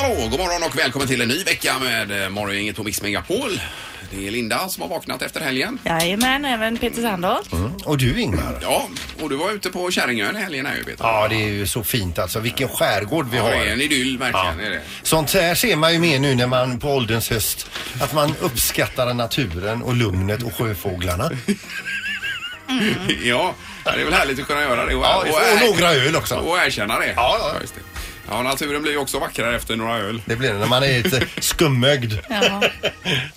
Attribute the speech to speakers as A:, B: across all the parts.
A: morgon och välkommen till en ny vecka med eh, Morgongänget på Mix Megapol. Det är Linda som har vaknat efter helgen.
B: Jajamän, även Peter Sandholt.
C: Och du Ingmar?
A: Ja, och du var ute på Käringön i helgen här ju Peter.
C: Ja, det är ju så fint alltså. Vilken skärgård vi
A: Ja, det är
C: har.
A: en idyll verkligen. Är det.
C: Sånt här ser man ju mer nu när man på ålderns höst. Att man uppskattar naturen och lugnet och sjöfåglarna.
A: ja, det är väl härligt att kunna göra det. Och,
C: Ja, och några öl också.
A: och erkänna det.
C: Ja, ja.
A: just det. ja, naturen blir ju också vackrare efter några öl.
C: Det blir det när man är lite skummögd.
B: Ja.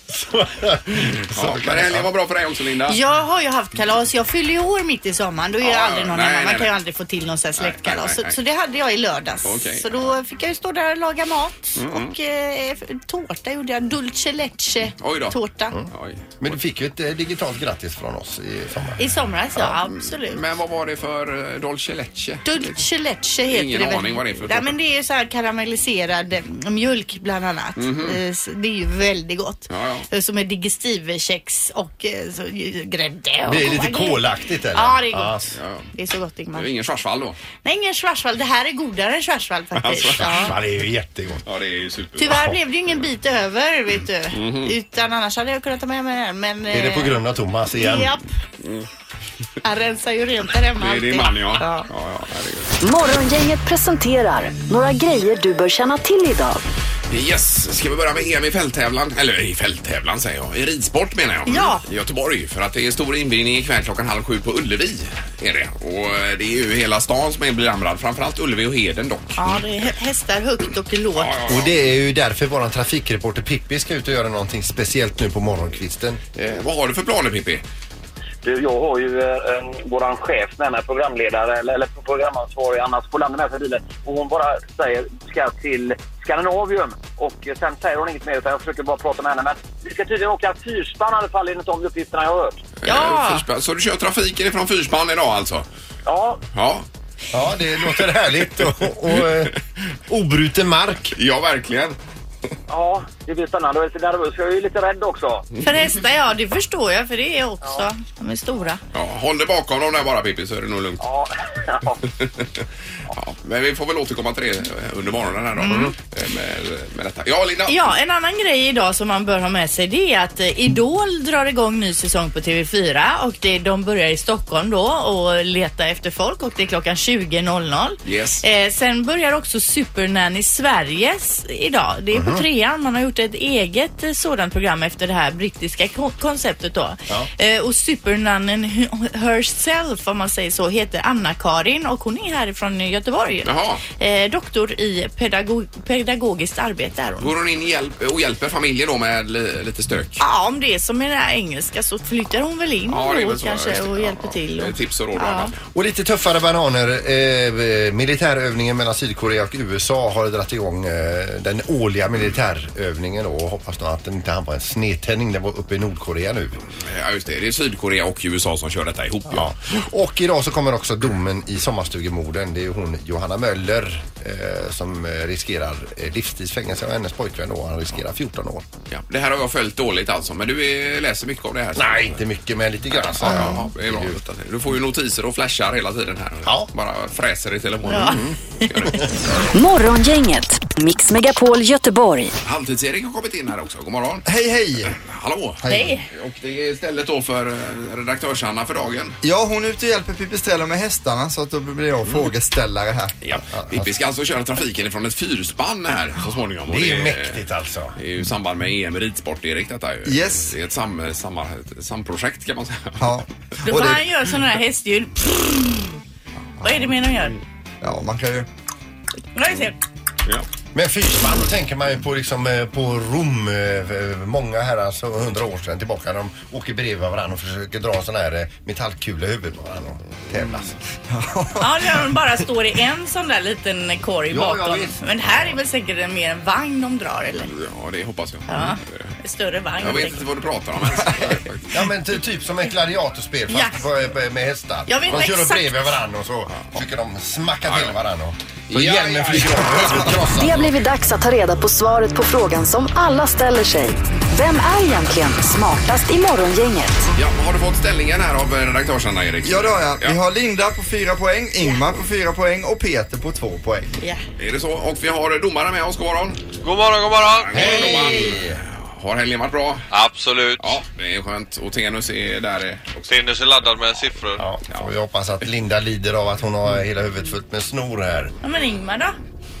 C: Så,
A: Mm, Ja,
C: så kan
A: men helgen var
C: det,
A: bra för dig också Linda.
B: Jag har ju haft kalas. Jag fyller ju år mitt i sommaren. Då är
A: Ja,
B: jag aldrig
A: ja,
B: någon
A: nej,
B: hemma. Man
A: nej,
B: kan ju
A: nej.
B: aldrig få till någon sån här
A: Nej,
B: släktkalas.
A: nej, nej, nej.
B: Så, så det hade jag i lördags.
A: Okej. Mm.
B: Så då fick jag ju stå där och laga mat. Och eh, tårta gjorde jag. Dulce lecce
A: Oj då. Mm.
B: tårta.
A: Oj.
C: men du fick ju ett eh, digitalt grattis från oss i sommar.
B: I somras, ja. Absolut.
A: Men vad var det för eh, Dolce Lecce?
B: Dulce lecce heter
A: Ingen
B: det väl?
A: aning vad det är för
B: Nej,
A: tårta.
B: men det är så här karamelliserad eh, mjölk bland annat. Eh, så Det är ju väldigt gott.
A: Mhm. Ja, ja.
B: Eh, Som är digestivekex och eh, så, ju- grädde och
C: Det är lite
B: goda grejer.
C: kolaktigt eller?
B: Ja, det är gott.
C: Ja.
A: Ja.
B: Det är så gott
A: Det
B: Ingmar.
A: är ingen Schwarzwald då?
B: Nej, ingen schwarzwald. Det här är godare än schwarzwald faktiskt.
A: Alltså,
B: ja.
C: Ja, det är ju jättegott.
A: Ja, det är ju super.
B: Tyvärr blev det ju ingen bit över, vet du. Utan annars hade jag kunnat ta med mig den. Men, eh,
C: Är det på grund av Thomas igen?
B: Japp. Han rensar ju rent där hemma
A: Det är din
B: alltid.
A: man ja. Ja, ja, herregud.
D: Morgongänget presenterar några grejer du bör känna till idag.
A: Yes, ska vi börja med EM i fälttävlan? Eller i fälttävlan säger jag, i ridsport menar jag. Mm.
B: Ja.
A: I Göteborg, för att det är stor invigning ikväll klockan halv sju på Ullevi. Är det. Och eh, det är ju hela stan som är belamrad, framförallt Ullevi och Heden dock.
B: Ja, det är hä- hästar högt och lågt.
C: Och det är ju därför våran trafikreporter Pippi ska ut och göra någonting speciellt nu på morgonkvisten.
A: Eh, vad har du för planer Pippi?
E: Du, jag har ju eh, eh, våran chef med mig, programledare eller, eller programansvarig Anna Spolander med sig i bilen. Och hon bara säger ska till Skandinavium och eh, sen säger hon inget mer utan jag försöker bara prata med henne. Men vi ska tydligen åka fyrspann i alla fall enligt de uppgifterna jag har hört.
B: Ja.
A: Eh, Fyrspan- så du kör trafiken ifrån Fyrspan idag alltså?
E: Ja,
A: Ja,
C: Ja, det låter härligt och, och eh, obruten mark.
A: ja verkligen.
E: ja, det blir spännande. Jag är lite nervös för jag är ju lite rädd också.
B: För hästar, ja det förstår jag för det är jag också. De är stora.
A: Ja, håll dig bakom dem där bara Pippi så är det nog lugnt.
E: Ja, ja.
A: Ja, men vi får väl återkomma till det eh, under morgonen här då. Eh, Med, med detta. Ja Linda,
B: Mm. Ja, en annan grej idag som man bör ha med sig det är att eh, Idol drar igång ny säsong på TV4 och det, de börjar i Stockholm då och leta efter folk och det är klockan 20.00.
A: Yes.
B: Eh, sen börjar också Supernanny Sveriges idag. Det är på
A: Mhm.
B: trean. Man har gjort ett eget eh, sådant program efter det här brittiska ko- konceptet då. Eh, och Supernanny herself om man säger så heter Anna-Karin och hon är härifrån Göteborg.
A: Jaha.
B: Eh, doktor i pedagog pedagogiskt arbete är hon.
A: går hon in hjälp, och hjälper familjen då med li, lite stök?
B: Ja, om det är som i den här engelska så flyttar hon väl in
A: Ja, det är
B: då
A: väl så, just
B: kanske
A: det.
B: och
A: Ja,
B: hjälper
A: ja.
B: till.
A: Eh,
B: Och...
A: Tips och råd och
B: Ja.
A: annat.
C: Och lite tuffare bananer. Eh, militärövningen mellan Sydkorea och USA har dragit igång eh, den årliga militärövningen då. och hoppas nu att den inte hamnar i en snedtändning. Den var uppe i Nordkorea nu.
A: Ja, just det. Det är Sydkorea och USA som kör detta ihop. Ja.
C: Ja. Och idag så kommer också domen i sommarstugemorden. Det är ju hon Johanna Möller eh, som eh, riskerar eh, livstidsfängelse och hennes pojkvän då. Han riskerar 14 år.
A: Ja. Det här har jag följt dåligt alltså, men du eh, läser mycket om det här?
C: Nej, inte mycket men lite grann. så.
A: Ja, ja, det är bra. Du får ju notiser och flashar hela tiden här.
C: Ja.
A: Bara fräser i telefonen.
B: Ja.
A: Mm. Gör det.
D: Morgongänget, Mix Megapol Göteborg.
A: Halvtids-Erik har kommit in här också. God morgon.
F: Hej hej!
A: Hallå!
B: Hej!
A: Och det är stället då för eh, redaktörs-Anna för dagen.
F: Ja, hon är ute och hjälper Pippi Ställa med hästarna så att då blir jag frågeställare här.
A: Ja. Vi ska alltså köra trafiken ifrån ett fyrspann här så småningom. Och
C: Det är ju mäktigt alltså.
A: Det är ju i samband med EM i ridsport, Erik, detta ju.
F: Yes.
A: Det är ett sam, sam, samprojekt kan man säga.
F: Ja.
B: Då
F: Och
B: får han
F: det,
B: göra sådana här hästljud. Vad är det mer de gör?
F: ja, man kan ju...
B: Nu ska vi se.
A: Ja.
C: Men fyrspann, då tänker man ju på, liksom, eh, på Rom, eh, många här alltså hundra år sedan tillbaka. De åker bredvid varandra och försöker dra sådana här eh, metallkula i huvudet på varandra och tävlas.
B: Ja, när de bara står i en sån där liten korg
C: Ja, ja,
B: bakom.
C: visst.
B: Men här är väl säkert mer en vagn de drar eller?
A: ja, det hoppas jag.
B: Ja. större vagn.
A: Jag vet inte vad du pratar om ens.
C: Ja men ty- typ som ett gladiatorspel fast på- eh, med hästar.
B: Jag vet
C: de kör upp
B: exakt.
C: bredvid varandra och så försöker de smacka till varandra. och- Så
A: Ja, ja,
C: hjälmen
A: ja.
C: flyger av och huvudet krossas.
D: Det har blivit dags att ta reda på svaret på frågan som alla ställer sig. Vem är egentligen smartast i morgongänget?
A: Ja, har du fått ställningen här av eh, redaktörsarna Erik?
F: Ja det har jag. Vi
A: Ja.
F: har Linda på fyra poäng, Ingmar på fyra poäng och Peter på två poäng.
B: Ja.
A: Är det så? Och vi har domare med oss. God morgon.
G: God morgon, god morgon.
A: Hej! Har helgen varit bra?
G: Absolut.
A: Ja, det är skönt. Och Tenus är där eh, också.
G: Tenus är laddad med siffror.
C: Ja, får vi hoppas att Linda lider av att hon har hela huvudet fullt med snor här.
B: ja, men Ingmar då?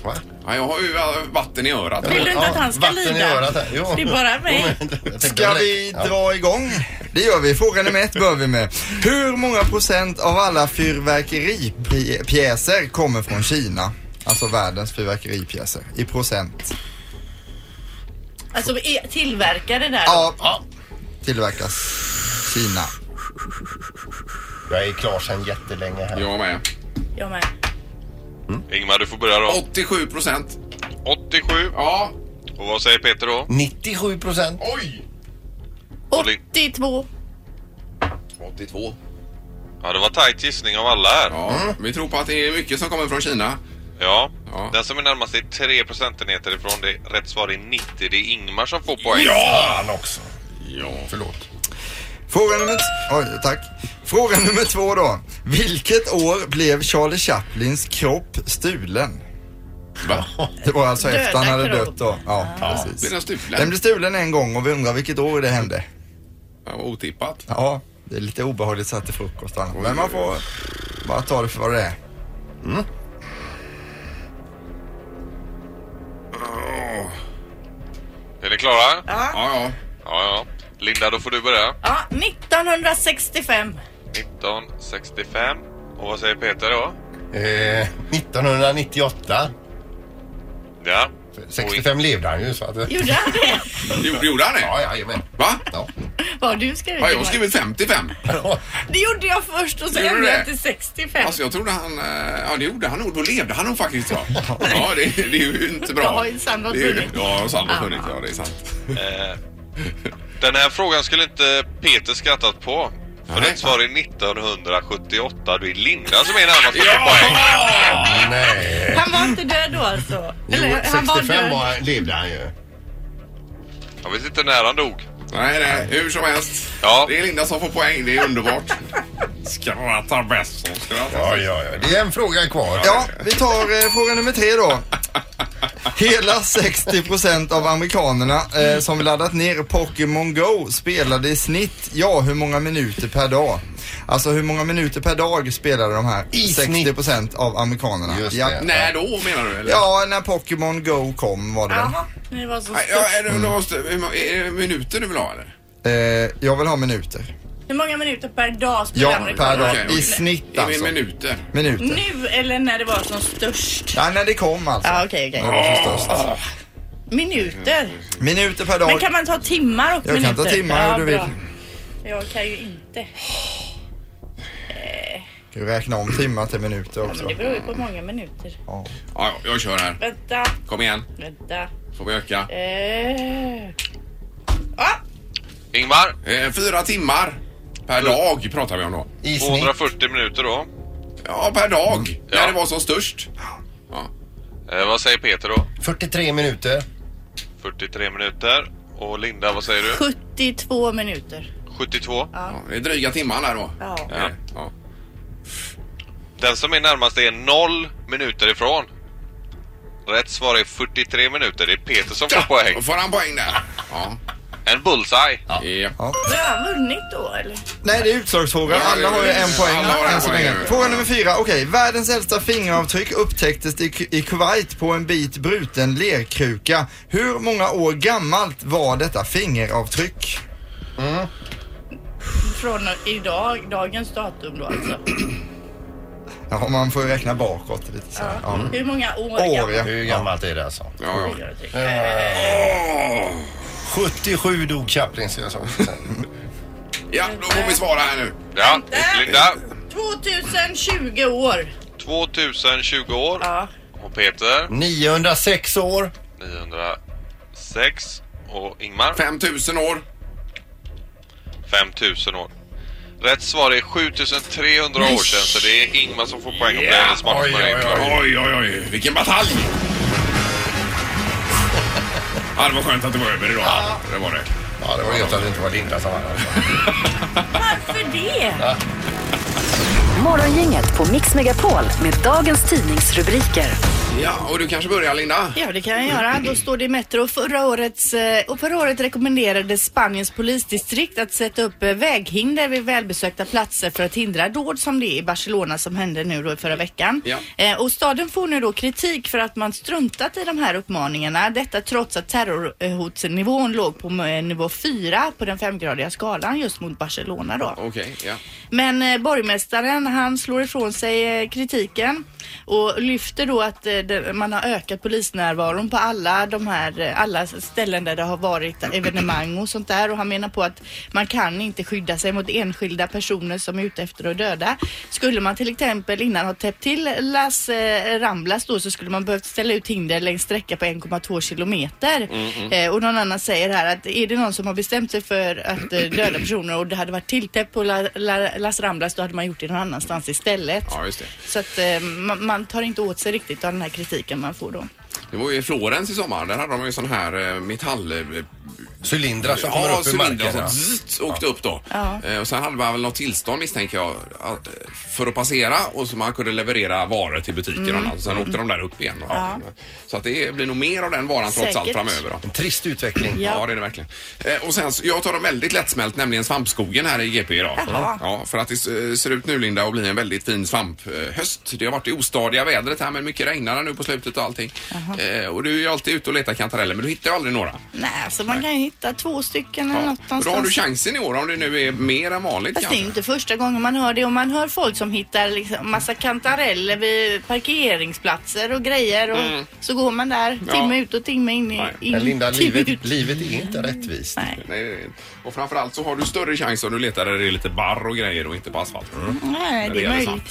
C: Va?
A: Ja, jag har ju eh, vatten i örat.
B: Vill du inte
C: Ja,
B: att han ska
C: vatten i
B: lida?
C: örat här. Jo.
B: Det är bara mig.
C: Jo, men jag tänkte
F: Ska
C: väl-
F: vi
C: Ja.
F: dra igång? Det gör vi. Fråga nummer ett börjar vi med. Hur många procent av alla fyrverkeripjäser kommer från Kina? Alltså världens fyrverkeripjäser i procent.
B: Alltså är- tillverkare där.
F: Ja, tillverkas Kina.
C: Jag är klar sedan jättelänge här.
A: Jag med.
B: Jag med.
G: Ingmar, du får börja då.
A: 87 procent.
G: 87.
A: Ja.
G: Och vad säger Peter då?
C: 97 procent.
A: Oj!
B: 82.
A: 82.
G: Ja, det var tajt gissning av alla här.
A: Ja,
F: Mm.
A: vi tror på att det är mycket som kommer från Kina.
G: Ja.
A: Ja.
G: Den som är närmast är 3 procentenheter ifrån. Det rätt svar är 90. Det är Ingmar som får poäng.
C: Fan också.
A: Ja.
C: Förlåt.
F: Fråga nummer, t- oj, tack. Fråga nummer två då. Vilket år blev Charlie Chaplins kropp stulen?
A: Va?
F: Det var alltså
B: Döda
F: efter han hade
B: kropp.
F: dött då. Ja, precis.
A: Blir den stulen?
F: Den blev stulen en gång och vi undrar vilket år det hände.
A: Ja, vad otippat.
F: Ja, det är lite obehagligt så här till frukost och annat. Men man får bara ta det för vad det är.
G: Är ni klara? Ja.
A: Ja, ja.
G: ja, Linda, då får du börja.
B: Ja, 1965.
G: 1965. Och vad säger Peter då?
C: Eh, 1998.
G: Ja.
C: För 65 levde han ju så att...
B: Gjorde han det?
A: Gjorde, gjorde han det?
C: Ja, jajamän.
A: Va?
C: Ja.
B: Vad du skrev
A: Har
B: Ingmar.
A: jag skrivit 55?
B: Det gjorde jag först och så
A: Gjorde du
B: ändrade
A: det?
B: jag till 65.
A: Alltså jag trodde han... eh, Ja, det gjorde han nog. Då levde han nog faktiskt. Ja, ja det, det är ju inte bra.
B: Jag har ju sannolikt
A: Det är ju-
B: funnits.
A: Ja, sannolikt funnits. Ja, det är sant.
G: Eh, den här frågan skulle inte Peter skrattat på. För
A: Nej.
G: rätt svar är 1978. Det är Linda som är närmast att få poäng.
A: Ja!
C: Nej.
B: Han var inte död då alltså?
C: Jo,
B: Eller, han var
C: 65
B: död.
C: var han, levde han ju.
G: Jag vet inte när han dog.
A: Nej, nej. Hur som helst.
G: Ja.
A: Det är Linda som får poäng. Det är underbart. Skrattar bäst som skrattar.
C: Ja, ja, ja. Det är en fråga kvar.
F: Ja, vi tar eh, fråga nummer tre då. Hela 60% av amerikanerna eh, som laddat ner Pokémon Go spelade i snitt, ja hur många minuter per dag? Alltså hur många minuter per dag spelade de här
C: I snitt.
F: 60% av amerikanerna?
C: Just
F: ja.
C: det.
A: När då menar du? Eller?
F: ja, när Pokémon Go kom var det väl.
B: Jaha, det var så
A: Nej,
B: stort.
A: Ja, är, det, måste, hur må- är det minuter du vill ha eller?
F: Eh, jag vill ha minuter.
B: Hur många minuter per dag spelar
F: Ja, per
B: amerikanerna?
F: dag.
A: Okej, okej.
F: I snitt
A: Är det
F: alltså.
A: minuter?
F: Minuter.
B: Nu eller när det var som störst?
F: Ja, när det kom alltså.
B: Ja, okej, okej.
F: När det var som störst.
B: Minuter.
F: Minuter per dag.
B: Men kan man ta timmar och
F: Jag
B: minuter?
F: kan ta timmar hur du
B: bra.
F: vill.
B: Jag kan ju inte.
F: Kan du räkna om timmar till
B: Ja,
F: minuter
B: men
F: också?
B: det beror ju på hur många minuter.
F: Ja.
A: Ja, ja, jag kör här.
B: Vänta,
A: Kom igen.
B: vänta.
A: Får vi öka?
B: Eh. Ah,
G: Ingmar,
A: Eh, fyra timmar per dag pratar vi om då.
C: I snitt.
G: 240 minuter då.
A: Mm. Ja, per dag.
G: Ja.
A: När det var som störst. Ja.
G: Eh, vad säger Peter då?
C: 43 minuter.
G: 43 minuter. Och Linda, vad säger du?
B: 72 minuter.
G: 72.
A: Ja, det är dryga timmar där då.
B: Ja.
A: Är det? ja.
G: Den som är närmast är noll minuter ifrån. Rätt svar är 43 minuter. Det är Peter som får
A: Då
G: poäng.
A: får han poäng där. Ja.
G: En bullseye.
A: Ja.
B: Har han vunnit då eller?
F: Nej, det är utslagsfråga. Alla har ju en poäng
A: Alla har en
F: än så
A: poäng.
F: länge. Fråga nummer fyra. Okej, världens äldsta fingeravtryck upptäcktes i, Ku- i Kuwait på en bit bruten lerkruka. Hur många år gammalt var detta fingeravtryck?
B: Från idag, dagens datum då alltså.
F: Ja, man får ju räkna bakåt lite så här.
A: Mm.
F: Ja.
B: Hur många år
F: År,
B: gammalt
F: ja.
C: Hur gammalt är det alltså?
A: Ja, ja.
B: gör det? Eh,
C: 77 dog Chaplin, så jag sa.
A: ja, då får vi svara här nu.
G: Ja, Linda.
B: 2020 år.
G: 2020 år.
B: Ja.
G: Och Peter?
C: 906 år.
G: 906. och Ingmar.
A: 5000 år.
G: 5000 år. Rätt svar är 7300 år sedan så det är Ingmar som får poäng om det är
A: Oj,
G: smartast man
A: oj,
G: är klar.
A: oj, oj, oj, oj, vilken batalj! Ja, det var skönt att det var över idag. Det var det.
C: Ja, det var gött att det inte var Linda som vann.
B: Varför det?
D: Morgongänget på Mix Megapol med dagens tidningsrubriker.
A: Ja, och du kanske börjar Linda?
B: Ja, det kan jag göra. Då står det i Metro. Förra, årets, eh, och förra året rekommenderade Spaniens polisdistrikt att sätta upp eh, väghinder vid välbesökta platser för att hindra dåd som det är i Barcelona som hände nu då i förra veckan.
A: Ja.
B: Eh, Och staden får nu då kritik för att man struntat i de här uppmaningarna. Detta trots att terrorhotsnivån låg på eh, nivå 4 på den femgradiga skalan just mot Barcelona då.
A: Okej, ja.
B: Men eh, borgmästaren han slår ifrån sig eh, kritiken och lyfter då att eh, det, man har ökat polisnärvaron på alla de här eh, alla ställen där det har varit evenemang och sånt där och han menar på att man kan inte skydda sig mot enskilda personer som är ute efter att döda. Skulle man till exempel innan ha täppt till Las eh, Ramblas då så skulle man behövt ställa ut hinder längs sträcka på 1,2 kilometer.
A: Mm,
B: Eh, och någon annan säger här att är det någon som har bestämt sig för att eh, döda personer och det hade varit tilltäppt på La, La, Las Ramblas då hade man gjort det någon annanstans istället.
A: Ja, just det.
B: Så att eh, man, man tar inte åt sig riktigt av den här kritiken man får då.
A: Det var ju i Florens i sommar. Där hade de ju sån här eh, metall... eh,
C: Cylindrar som Alltså, kommer
A: Ja,
C: upp i
A: cylindrar
C: marken.
A: som
C: ja.
A: zzzt, åkte upp då.
B: Ja.
A: Eh, Och sen hade man väl något tillstånd misstänker jag att, eh, för att passera och så man kunde leverera varor till butiken
B: Mm.
A: och annat. Sen åkte de där upp igen. va? Så att det blir nog mer av den varan trots allt
B: Säkert.
A: framöver. Då.
C: En trist utveckling.
A: Ja.
B: Ja.
A: det är det verkligen. Eh, och sen, så- jag tar dem väldigt lättsmält, nämligen svampskogen här i GP idag.
B: Jaha.
A: Ja, för att det eh, ser ut nu Linda att bli en väldigt fin svamphöst. Det har varit det ostadiga vädret här men mycket regnare nu på slutet och allting. Eh, och du är ju alltid ute och letar kantareller men du hittar ju aldrig några.
B: Nej, så man kan ju hitta två stycken eller
A: Ja.
B: något
A: Och Då har du
B: Mm, någonstans.
A: chansen i år om det nu är mer än vanligt
B: Fast det är
A: kanske.
B: ju inte första gången man hör det och man hör folk som hittar liksom massa kantareller vid parkeringsplatser och grejer och så går man där
A: Mm. Ja.
B: timme ut och timme in. i-
A: Nej.
B: in
C: Men Linda,
B: timme
C: livet,
B: ut.
C: livet är inte rättvist.
B: Nej.
A: Nej, det är det inte. och framförallt så har du större chans om du letar där det är lite barr och grejer och inte på asfalt.
C: Mm.
B: Nej,
A: När
B: det är
A: gäller
B: möjligt.
A: svamp.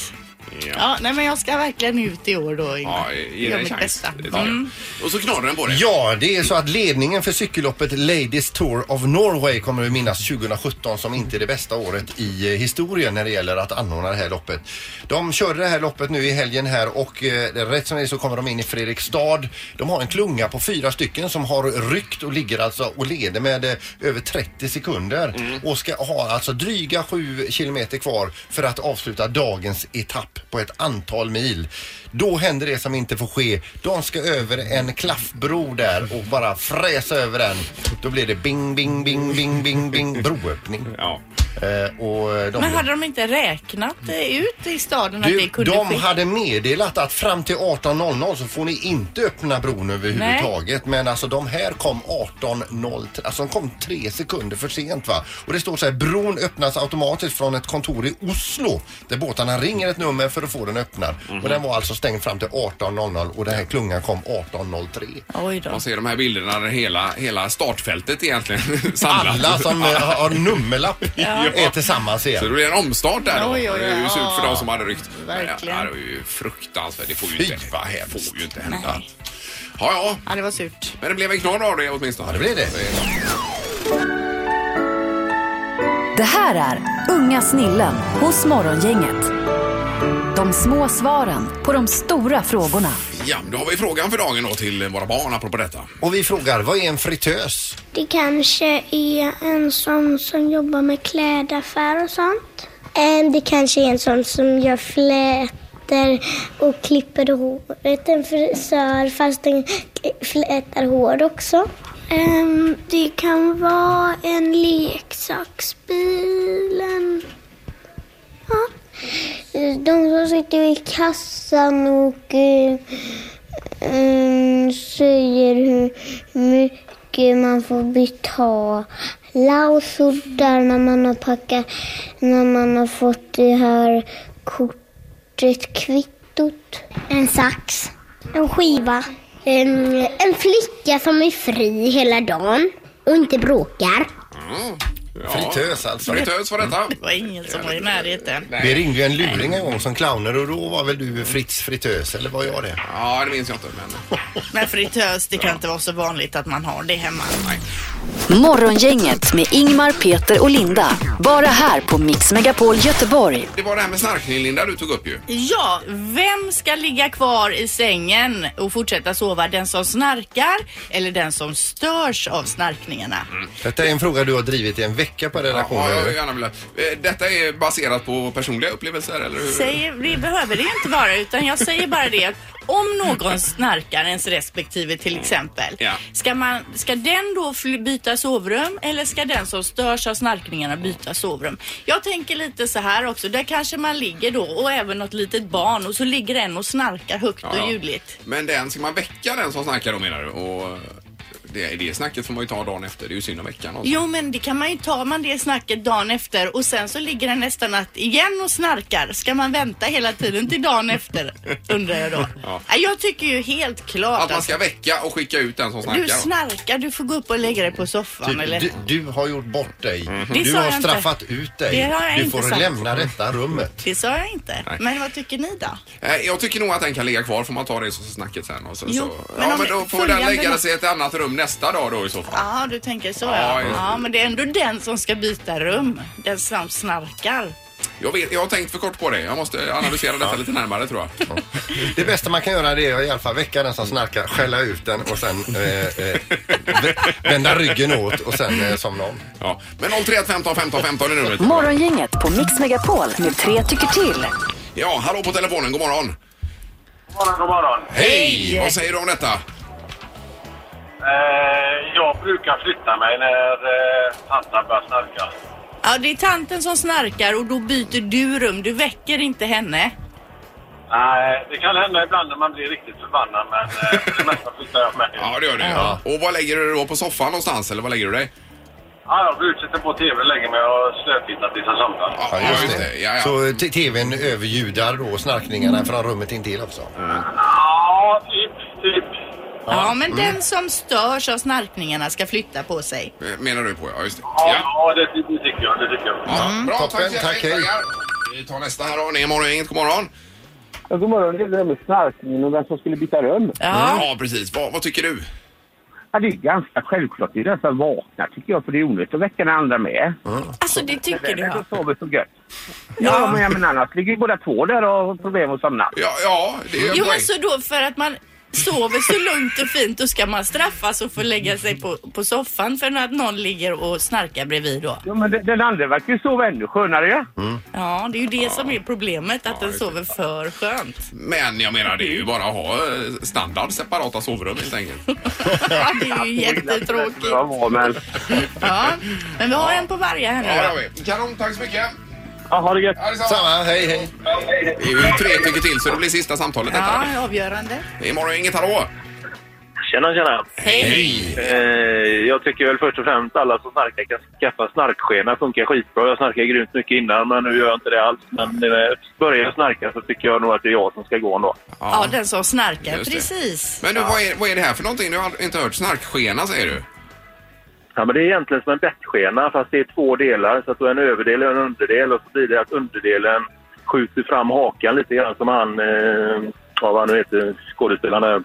A: Ja.
B: Ja, nej men jag ska verkligen ut i år då Ingmar.
A: Ja, ge
B: Gör
A: den en
B: mitt
A: chans.
B: bästa.
A: Det tycker jag.
B: Mm.
A: Och så knorrar den på dig.
C: Ja, det är så att ledningen för cykelloppet Ladies Tour of Norway kommer att minnas 2017 som inte det bästa året i eh, historien när det gäller att anordna det här loppet. De körde det här loppet nu i helgen här och eh, rätt som det är så kommer de in i Fredrikstad. De har en klunga på fyra stycken som har ryckt och ligger alltså och leder med eh, över 30 sekunder och ska ha alltså dryga 7 kilometer kvar för att avsluta dagens etapp på ett antal mil. Då händer det som inte får ske. De ska över en klaffbro där och bara fräsa över den. Då blir det bing, bing, bing, bing, bing, bing, broöppning.
A: Ja.
C: Eh, och de
B: Men hade de inte räknat eh, ut i staden att det
C: du,
B: kunde
C: de
B: ske?
C: hade meddelat att fram till 18.00 så får ni inte öppna bron överhuvudtaget. Men alltså de här kom 18.03, alltså de kom tre sekunder för sent va. Och det står så här, bron öppnas automatiskt från ett kontor i Oslo där båtarna ringer ett nummer för att få den öppnad. Och den var alltså stängd fram till 18.00 och den här klungan kom 18.03.
B: Oj då.
A: Man ser de här bilderna där hela, hela startfältet egentligen samlat.
C: Alla som eh, har nummerlapp är tillsammans
A: Så det
C: igen.
A: blir en omstart där då.
B: Oj, oj, oj.
A: Det är ju surt för
B: Ja.
A: de som hade ryckt.
B: Verkligen.
A: Ja, det var ju fruktansvärt. Det får ju
C: Fy,
A: inte,
C: vad
A: det
C: hemskt.
A: får ju inte hända. Ja, ja.
B: Ja, det var surt.
A: Men det blev en knorr av det åtminstone.
C: Ja, det blev det.
D: Det här är Unga snillen hos Morgongänget. De små svaren på de stora frågorna.
A: Ja, då har vi frågan för dagen då till våra barn apropå detta.
C: Och vi frågar, vad är en fritös?
H: Det kanske är en sån som jobbar med klädaffär och sånt. Eh, Det kanske är en sån som gör flätor och klipper håret. En frisör fast den k- flätar hår också. Ehm, Det kan vara en leksaksbil. En... De som sitter vid kassan och mm, säger hur mycket man får betala och sådär när man har packat, när man har fått det här kortet, kvittot. En sax. En skiva. En, en flicka som är fri hela dagen och inte bråkar.
C: Fritös alltså.
A: Fritös var detta.
B: Det var ingen som var i närheten.
C: Det ringde ju en luring en gång som clowner och då var väl du Fritz Fritös eller var jag det?
A: Ja, det minns jag inte. Men...
B: Men fritös, det kan inte vara så vanligt att man har det hemma.
D: Morgongänget med Ingmar, Peter och Linda. Bara här på Mix Megapol Göteborg.
A: Det var det här med snarkning, Linda, du tog upp ju.
B: Ja, vem ska ligga kvar i sängen och fortsätta sova? Den som snarkar eller den som störs av snarkningarna?
A: Mm.
C: Detta är en fråga du har drivit i en vecka på
A: Ja, jag
C: redaktionen.
A: vill gärna vilja. Eh, Detta är baserat på personliga upplevelser, eller hur?
B: Säger, det behöver det inte vara utan jag säger bara det att om någon snarkar ens respektive till exempel.
A: Mm. Ja.
B: Ska, man, ska den då fly- byta sovrum eller ska den som störs av snarkningarna byta sovrum? Jag tänker lite så här också. Där kanske man ligger då och även något litet barn och så ligger en och snarkar högt
A: Ja, ja.
B: och ljudligt.
A: Men den, ska man väcka den som snarkar då menar du? Och det, det snacket får man ju ta dagen efter. Det är ju synd om veckan. Också.
B: Jo men det kan man ju ta man det snacket dagen efter och sen så ligger den nästa natt igen och snarkar. Ska man vänta hela tiden till dagen efter? Undrar jag då.
A: Ja.
B: Nej, Jag tycker ju helt klart
A: Att man ska väcka och skicka ut den som snarkar.
B: Du
A: då.
B: snarkar, du får gå upp och lägga dig på soffan
A: Typ,
B: eller?
C: Du, du har gjort bort dig.
A: Mhm.
B: Det
C: Du
B: sa
C: har
B: jag inte.
C: straffat ut dig.
B: Det har jag
C: du
B: inte
C: får
B: sagt.
C: lämna detta rummet.
B: Det sa jag inte. Men vad tycker ni då?
A: Eh, Jag tycker nog att den kan ligga kvar får man ta det som snacket sen. Och sen
B: Jo,
A: så.
B: men
A: ja,
B: om
A: men då
B: det-
A: får den
B: följande
A: lägga
B: natt-
A: sig i ett annat rum nästa dag då i så fall.
B: Ja, du tänker så
A: Ja,
B: ja.
A: just det.
B: Ja, men det är ändå den som ska byta rum. Den som snarkar.
A: Jag, vet, jag har tänkt för kort på det. Jag måste analysera detta lite närmare tror jag.
C: Det bästa man kan göra det är att i alla fall väcka den som snarkar, skälla ut den och sen eh, eh, vända ryggen åt och sen eh, somna om.
A: Ja. Men 031 15 15 15 är numret.
D: Morgongänget på Mix Megapol med tre tycker till.
A: Ja, hallå på telefonen. God morgon.
E: God morgon, god morgon.
A: Hej! Vad säger du om detta?
E: Eh, jag brukar flytta mig när eh, tanten börjar snarka.
B: Ja, det är tanten som snarkar och då byter du rum. Du väcker inte henne.
E: Nej, det kan hända ibland när man blir riktigt förbannad, men eh, för det mesta flyttar jag mig.
A: Ja, det gör det.
B: Ja.
A: Och vad lägger du då? På soffan någonstans eller vad lägger du dig?
E: Ja, jag brukar sätta på tv, lägger mig och slötittar tills jag somnar.
A: Ja, just det. Ja, ja.
C: Så eh, t- tvn överljudar då snarkningarna från rummet intill också.
A: Mm.
E: Ja, typ, typ.
B: Ja, men
A: Mm.
B: den som störs av snarkningarna ska flytta på sig.
A: Eh, Menar du på ja, just det.
E: Ja,
A: Ja.
E: ja det, ty- det tycker jag, det tycker jag.
A: Ja, Bra,
C: Mm, Toppen,
A: tack, så
C: tack,
A: mycket.
C: hej.
A: Vi tar nästa här då. Ni är morgon, inget god morgon.
E: Ja, god morgon, det är det där med snarkningen och vem som skulle byta rum.
B: Ja.
A: Ja, precis. Vad, vad tycker du?
E: Ja, det är ganska självklart. Det är den som vaknar, tycker jag, för det är onödigt att väcka den andra med.
B: Alltså det tycker du ja.
E: Då sover så gött. Ja, men jag menar annars ligger ju båda två där och har problem att somna.
A: Ja, ja det är ju en
B: Jo,
A: poäng.
B: alltså då för att man sover så lugnt och fint då ska man straffas och få lägga sig på, på soffan för att någon ligger och snarkar bredvid då.
E: Ja, men den, den andra verkar ju sova ännu skönare ju.
B: Ja, det är ju det som är problemet, att den
A: just det.
B: sover för skönt.
A: Men jag menar, det är ju bara att ha eh, standard separata sovrum helt enkelt.
B: Ja, det är ju jättetråkigt.
E: Ja, bra, men...
B: Ja, men vi har en på varje här
A: Ja, det har
B: nu.
A: vi. Kanon, tack så mycket.
E: Ja, ha det gött.
A: Ja, detsamma.
C: Samma, hej hej.
A: Det är ju tre tycker till så det blir sista samtalet detta.
B: Ja, avgörande.
A: Det är morgon, inget hallå.
E: Tjena, tjena.
B: Hej!
E: Eh, jag tycker väl först och främst alla som snarkar kan skaffa snarkskena. funkar skitbra. Jag snarkade grymt mycket innan, men nu gör jag inte det alls. Men eh, börjar jag snarka så tycker jag nog att det är jag som ska gå ändå.
B: Ja, den som snarkar.
A: Just det.
B: Precis.
A: Men du, vad, är, vad är det här för någonting? Du har inte hört snarkskena säger du?
E: Ja, men det är egentligen som en bettskena, fast det är två delar. Så att du har en överdel och en underdel och så blir det att underdelen skjuter fram hakan lite grann som han, eh, ja, vad han nu heter, skådespelaren där.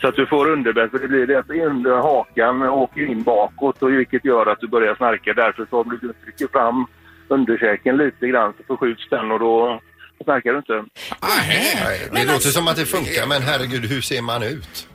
E: Så att du får underbett, för det blir det att under hakan åker in bakåt och vilket gör att du börjar snarka. Därför så blir du trycker fram underkäken lite grann så förskjuts den och då snarkar du inte.
A: Ah, Nej.
C: Nej, det låter som att det funkar men herregud hur ser man ut?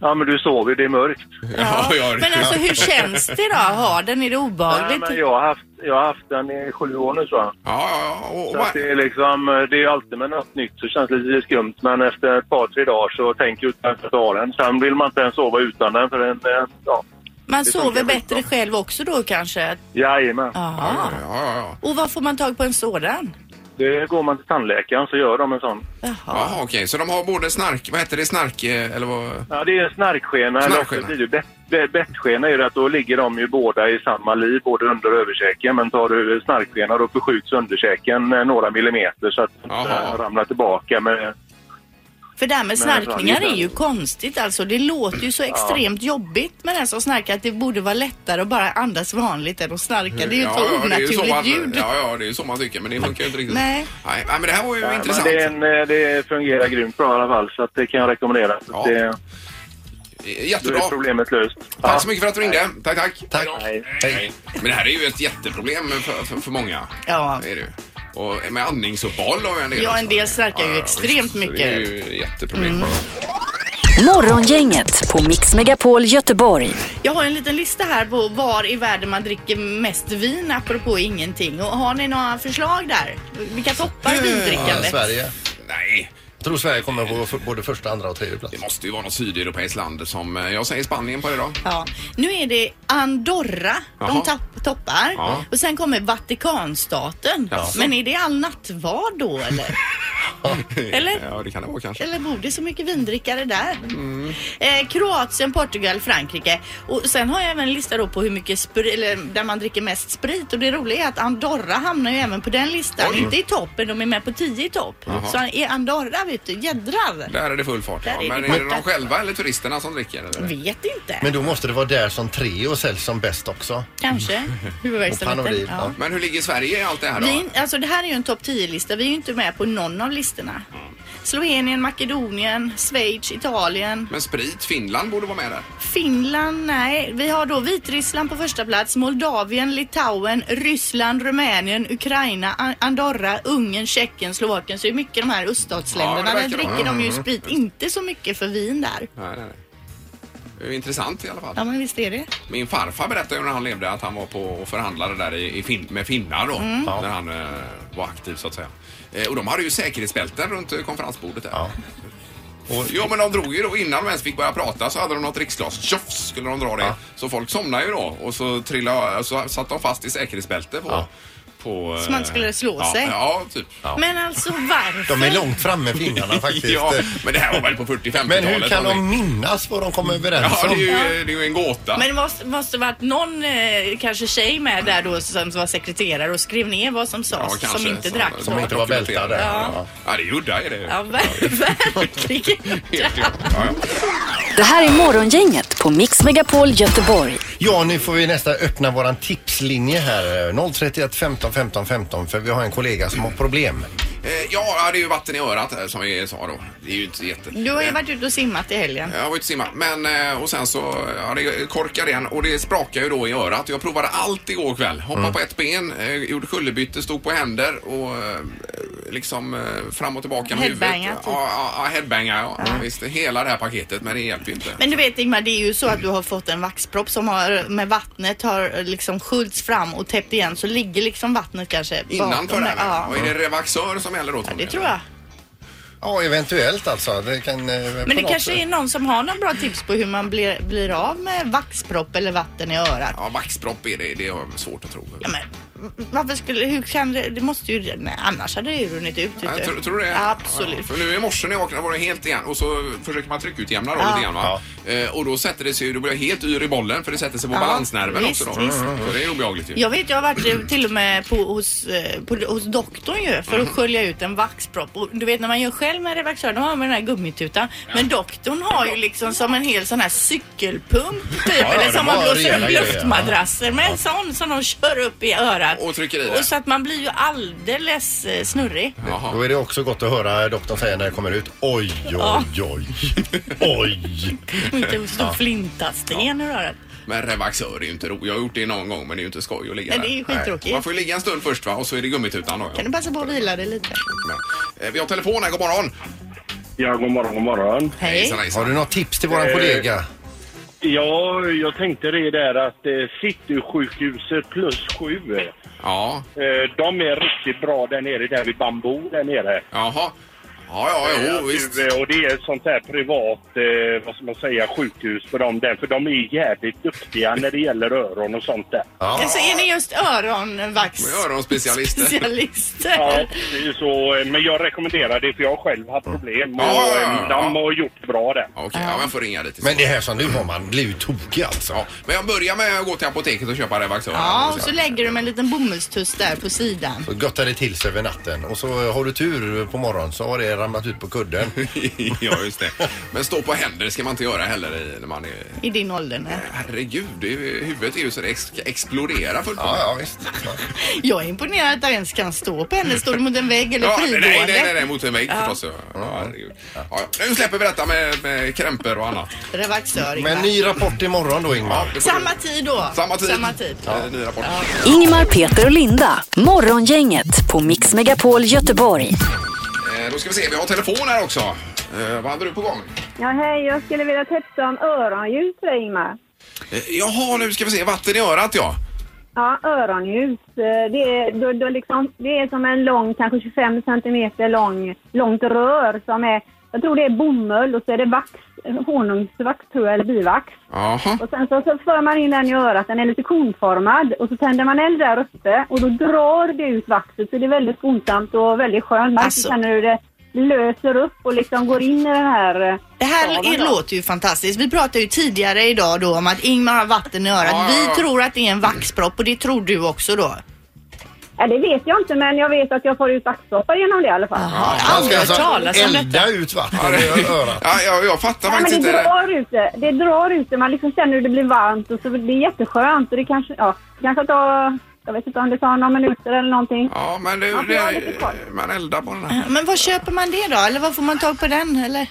E: Ja, men du sover ju, det är mörkt.
A: Ja, ja, det-
B: Men alltså hur känns det då? Har den? Är det
E: Nej, men
B: obehagligt?
E: jag har haft, jag har haft den i sju år nu tror jag.
A: Ja, ja, och, och,
E: Så att det är liksom, eh, det är ju alltid med något nytt så känns det lite skumt. Men efter ett par, tre dagar så tänker jag att jag tar den. Sen vill man inte ens sova utan den för den, eh, ja.
B: Man
E: det
B: sover
E: funkar
B: bättre själv också då kanske?
E: Jajamän.
A: ja,
B: Jaha.
A: ja, ja.
B: Och var får man tag på en sådan?
E: Det går man till tandläkaren så gör de en sån.
A: Jaha,
B: Jaha.
A: okej. Så de har både snark... Vad heter det? Snark... eh, Eller vad?
E: Ja, det är en snarkskena. eller också
A: Snarkskena.
E: blir det bett- be- Bettskena är ju det att då ligger de ju båda i samma liv, både under och överkäken. Men tar du snarkskena då eh, förskjuts underkäken eh, några millimeter så att den
A: Jaha.
E: ramlar tillbaka med
B: För det här med
E: Men alltså,
B: snarkningar
E: det är
B: är ju konstigt alltså. Det låter ju så extremt jobbigt med den som snarkar att det borde vara lättare att bara andas vanligt än att snarka. Det är ju ett så
A: det är ju så
B: onaturligt
A: man,
B: ljud.
A: Ja, ja, det är ju så man tycker, men det funkar ju inte riktigt.
B: Nej.
A: Nej, nej, men det här var ju
E: Nej, men
A: intressant.
E: det, är en, eh, det fungerar grymt bra i alla fall, så att det kan jag rekommendera.
A: Ja.
E: Det, då
A: Jättebra.
E: är problemet löst.
A: Tack så mycket för att du ringde. Tack, tack.
C: Tack.
E: Nej.
C: Hej.
A: Men det här är ju ett jätteproblem för, för, för många.
B: Ja.
A: Det är det ju. Och med andningsuppehåll har ju en del
B: Ja, en
A: också.
B: del snarkar ju
A: Ja, ja,
B: extremt
A: visst. Så
B: mycket. Mm.
A: Det är ju ett jätteproblem.
D: Morgongänget på Mix Megapol Göteborg.
B: Jag har en liten lista här på var i världen man dricker mest vin apropå ingenting. Och har ni några förslag där? Vilka toppar
C: Ja,
B: vindrickandet?
C: Sverige.
A: Nej,
C: Jag tror Sverige kommer på f- både första, andra och tredje plats.
A: det måste ju vara något sydeuropeiskt land som... eh, Jag säger Spanien på det då.
B: Ja. Nu är det Andorra
A: Jaha.
B: de tapp, toppar
A: Ja.
B: och sen kommer Vatikanstaten.
A: Jaså.
B: Men är det all nattvard då eller? Eller?
A: Ja, det kan det vara kanske.
B: Eller bor det så mycket vindrickare där?
A: Mm.
B: Eh, Kroatien, Portugal, Frankrike. Och sen har jag även en lista då på hur mycket spri- eller där man dricker mest sprit. Och det roliga är att Andorra hamnar ju även på den listan.
A: Oj.
B: Inte i toppen, de är med på 10 i topp.
A: Jaha.
B: Så i Andorra vet du, jädrar.
A: Där är det full fart.
B: Där
A: Ja.
B: är
A: Men
B: det
A: är det
B: full
A: de
B: fart.
A: själva eller turisterna som dricker? Eller?
B: Vet inte.
C: Men då måste det vara där som tre och säljs som bäst också.
B: Kanske. Huvudvärksamheten.
C: Och Panodil,
B: ja.
C: ja.
A: Men hur ligger Sverige i allt det här då?
B: Vi, alltså det här är ju en topp 10-lista. Vi är ju inte med på någon av listorna. Slovenien, Makedonien, Schweiz, Italien,
A: Men sprit, Finland borde vara med där.
B: Finland, nej. Vi har då Vitryssland på första plats, Moldavien, Litauen, Ryssland, Rumänien, Ukraina, A- Andorra, Ungern, Tjeckien, Slovakien. Så det är mycket de här öststatsländerna.
A: Ja, det Mm. verkar
B: där dricker
A: vara.
B: de ju sprit, inte så mycket för vin där.
A: Nej, nej, nej. Det är ju intressant i alla fall.
B: Ja men visst är det.
A: Min farfar berättade ju när han levde att han var på och förhandlade där i, i fin, med finnar då.
C: Mm.
A: När han eh, var aktiv så att säga. Eh, och de hade ju säkerhetsbälten runt eh, konferensbordet där. Ja.
C: Ja.
A: Jo men de drog ju då innan de ens fick börja prata så hade de något riksglas. Tjoffs skulle de dra det. Så folk somnade ju då och så, trillade, så satt de fast i säkerhetsbälte på...
C: Ja.
A: på eh,
B: Så man inte skulle slå
A: ja,
B: sig.
A: Ja, typ.
B: Men alltså varför?
C: De är långt framme finnarna faktiskt.
A: ja, men det här var väl på 40-50-talet.
C: Men hur kan
A: eller?
C: de minnas vad de kom överens
A: Ja, det är ju,
C: om?
A: det är ju en gåta.
B: Men det måste, måste varit någon eh, kanske tjej med där då som var sekreterare och skrev ner vad som
A: Ja,
B: sades som
A: kanske,
B: inte drack.
C: som
B: då.
C: inte var bältad där.
A: Ja. ja, det är ju udda är det ju.
B: Ja, ver- verkligen.
A: Helt klart. Ja, ja.
D: Det här är Morgongänget på Mix Megapol Göteborg.
C: Ja, nu får vi nästan öppna våran tipslinje här. 031 15 15 15 för vi har en kollega som har problem.
A: Eh, Ja, det är ju vatten i örat eh, som vi sa då. Det är ju inte så jätte...
B: Du har ju
A: Eh,
B: varit ute och simmat i helgen.
A: Jag var ute och simma. Men eh, och sen så ja, det korkade igen och det sprakar ju då i örat. Jag provade allt igår kväll. Hoppade på ett ben, eh, gjorde kullerbyte, stod på händer och eh, liksom eh, fram och tillbaka med
B: Headbanga,
A: huvudet.
B: typ.
A: Ja, ja, ja, headbanga ja. Visst, hela det här paketet men det hjälper ju inte.
B: Men du vet Ingmar, det är ju så att du har fått en vaxpropp som har med vattnet har liksom skjuts fram och täppt igen så ligger liksom vattnet kanske
A: Innanför det
B: där.
A: här. Och
B: Ja,
A: är det Revaxör som gäller då Tommy?
B: det tror jag.
C: Ja, eventuellt alltså. Det kan, eh, på
B: Men det
C: något
B: kanske
C: sätt.
B: är någon som har någon bra tips på hur man blir, blir av med vaxpropp eller vatten i örat.
A: Ja, vaxpropp är det. Det har jag svårt att tro.
B: Ja, men, v- varför skulle, hur kan det, det måste ju, nej, annars hade det ju runnit ut. vet
A: Ja,
B: du.
A: tror, tror du det? Ja,
B: Absolut.
A: för nu i morse när jag vaknade var det helt igen och så försöker man tryckutjämna då
B: Ja.
A: lite grann va? Eh, och då sätter det sig, då blir jag helt yr i bollen för det sätter sig på
B: Ja,
A: balansnerven
B: visst,
A: också då. Mm,
B: visst.
A: Så det är obehagligt ju.
B: Jag vet, jag har varit eh, till och med på, hos, eh, på, hos doktorn ju för
C: Mm.
B: att skölja ut en vaxpropp. Och du vet när man gör själv med revaxör, då har man den här gummitutan. Men doktorn har ju liksom som en hel sån här cykelpump typ.
C: ja,
B: eller
C: de
B: som man
C: har
B: blåser
C: rejäla
B: upp
C: grejer, ja.
B: luftmadrasser med. En sån som de kör upp i örat.
A: Och trycker i det.
B: Och så att man blir ju alldeles eh, snurrig.
A: Jaha.
C: Då är det också gott att höra doktorn säga när det kommer ut. Oj, oj, oj. Oj.
B: Och inte en stor flintasten ur örat.
A: Men revaxör är ju inte roligt. Jag har gjort det någon gång men det är ju inte skoj att ligga
B: Nej,
A: där.
B: det är ju skittråkigt.
A: Man får ju ligga en stund först va och så är det gummitutan då. Ja.
B: Kan du passa på att vila dig lite?
A: Men, eh, vi har telefon här, god morgon.
E: Ja, god morgon, god morgon.
B: Hej.
A: Hejsan, hejsan.
C: Har du något tips till våran
E: Eh,
C: kollega?
E: Ja, jag tänkte det där att eh, Citysjukhuset plus sju,
A: Ja,
E: eh, de är riktigt bra där nere, där vid Bambo där nere.
A: jaha. Ja, ja,
E: Eh,
A: jo,
E: att
A: visst.
E: du, eh, Och det är ett sånt här privat, eh, vad ska man säga, sjukhus för dem där. För de är jävligt duktiga när det gäller öron och sånt där.
C: Ja.
B: Så Alltså, är ni just öronvax...
A: Med öronspecialister.
B: specialister.
E: Ja, det är så, eh, men jag rekommenderar det för jag har själv haft problem. Och
A: Ja, ja,
E: eh,
A: ja.
E: de har gjort bra det.
A: Okej, ja. men jag får ringa lite.
C: Men det här som du har, man blir ju tokig alltså.
A: Ja, men jag börjar med att gå till apoteket och köpa revaxör.
B: Ja, och så lägger du med en liten bomullstuss där på sidan.
C: Så göttar det till sig över natten och så har du eh, tur på morgonen så har det hade ramlat ut på kudden.
A: ja, just det. Men stå på händer ska man inte göra heller i, när man är...
B: I din ålder? Nej.
A: Herregud, det är, ju- huvudet är ju så det ex- exploderar fullt
C: Ja, ja visst. Ja.
B: Jag är imponerad att du ens kan stå på henne. Står du mot en vägg eller
A: Ja, nej,
B: frigående?
A: nej, nej, nej, mot en vägg förstås. Ja. Ja, herregud. ja, ja. Nu släpper vi detta med, med krämpor och annat.
B: Revaxör.
C: Men ny rapport imorgon då Ingmar.
A: Det får
B: Samma
A: du-
B: tid då.
A: Samma tid.
B: Samma tid.
A: Eh, Ny rapport.
D: Ingmar, Peter och Linda. Morgongänget på Mix Megapol Göteborg.
A: Eh, Då ska vi se, vi har telefon här också. Eh, vad hade du på gång?
I: Ja, hej, jag skulle vilja tipsa om öronljus för Ingmar.
A: Eh, jaha, nu ska vi se. Vatten i örat, ja.
I: Ja, öronljus. eh, Det är, då, då liksom, det är som en lång, kanske 25 centimeter lång, långt rör som är, jag tror det är bomull och så är det vax, honungsvax tror jag, eller bivax.
A: Jaha.
I: Och sen så, så för man in den i örat, den är lite konformad och så tänder man eld där uppe och då drar det ut vaxet så det är väldigt skonsamt och väldigt skönt. Man
B: Alltså.
I: känner hur det löser upp och liksom går in i den här... eh,
B: Det här
I: staven
B: är,
I: då.
B: låter ju fantastiskt. Vi pratade ju tidigare idag då om att Ingmar har vatten i örat.
A: Ja, ja, ja.
B: Vi tror att det är en vaxpropp och det tror du också då.
I: Ja, äh, det vet jag inte men jag vet att jag får ut vaxdroppar genom det i alla fall.
B: Ja,
C: Man
B: aldrig
C: ska
B: hört talas
C: alltså
B: om detta.
C: elda ut vatten i örat.
A: Ja, jag, jag fattar
I: Nej,
A: faktiskt
I: men
A: inte.
I: det
A: det där.
I: drar ut det. Det drar ut det. Man liksom känner hur det blir varmt och så det är jätteskönt. Och det kanske, ja, det kanske tar, jag vet inte om det tar några minuter eller någonting.
A: Ja, men det,
I: Ja, för jag har lite koll.
A: det, man eldar på den här.
B: Men var köper man det då? Eller var får man tag på den? Eller?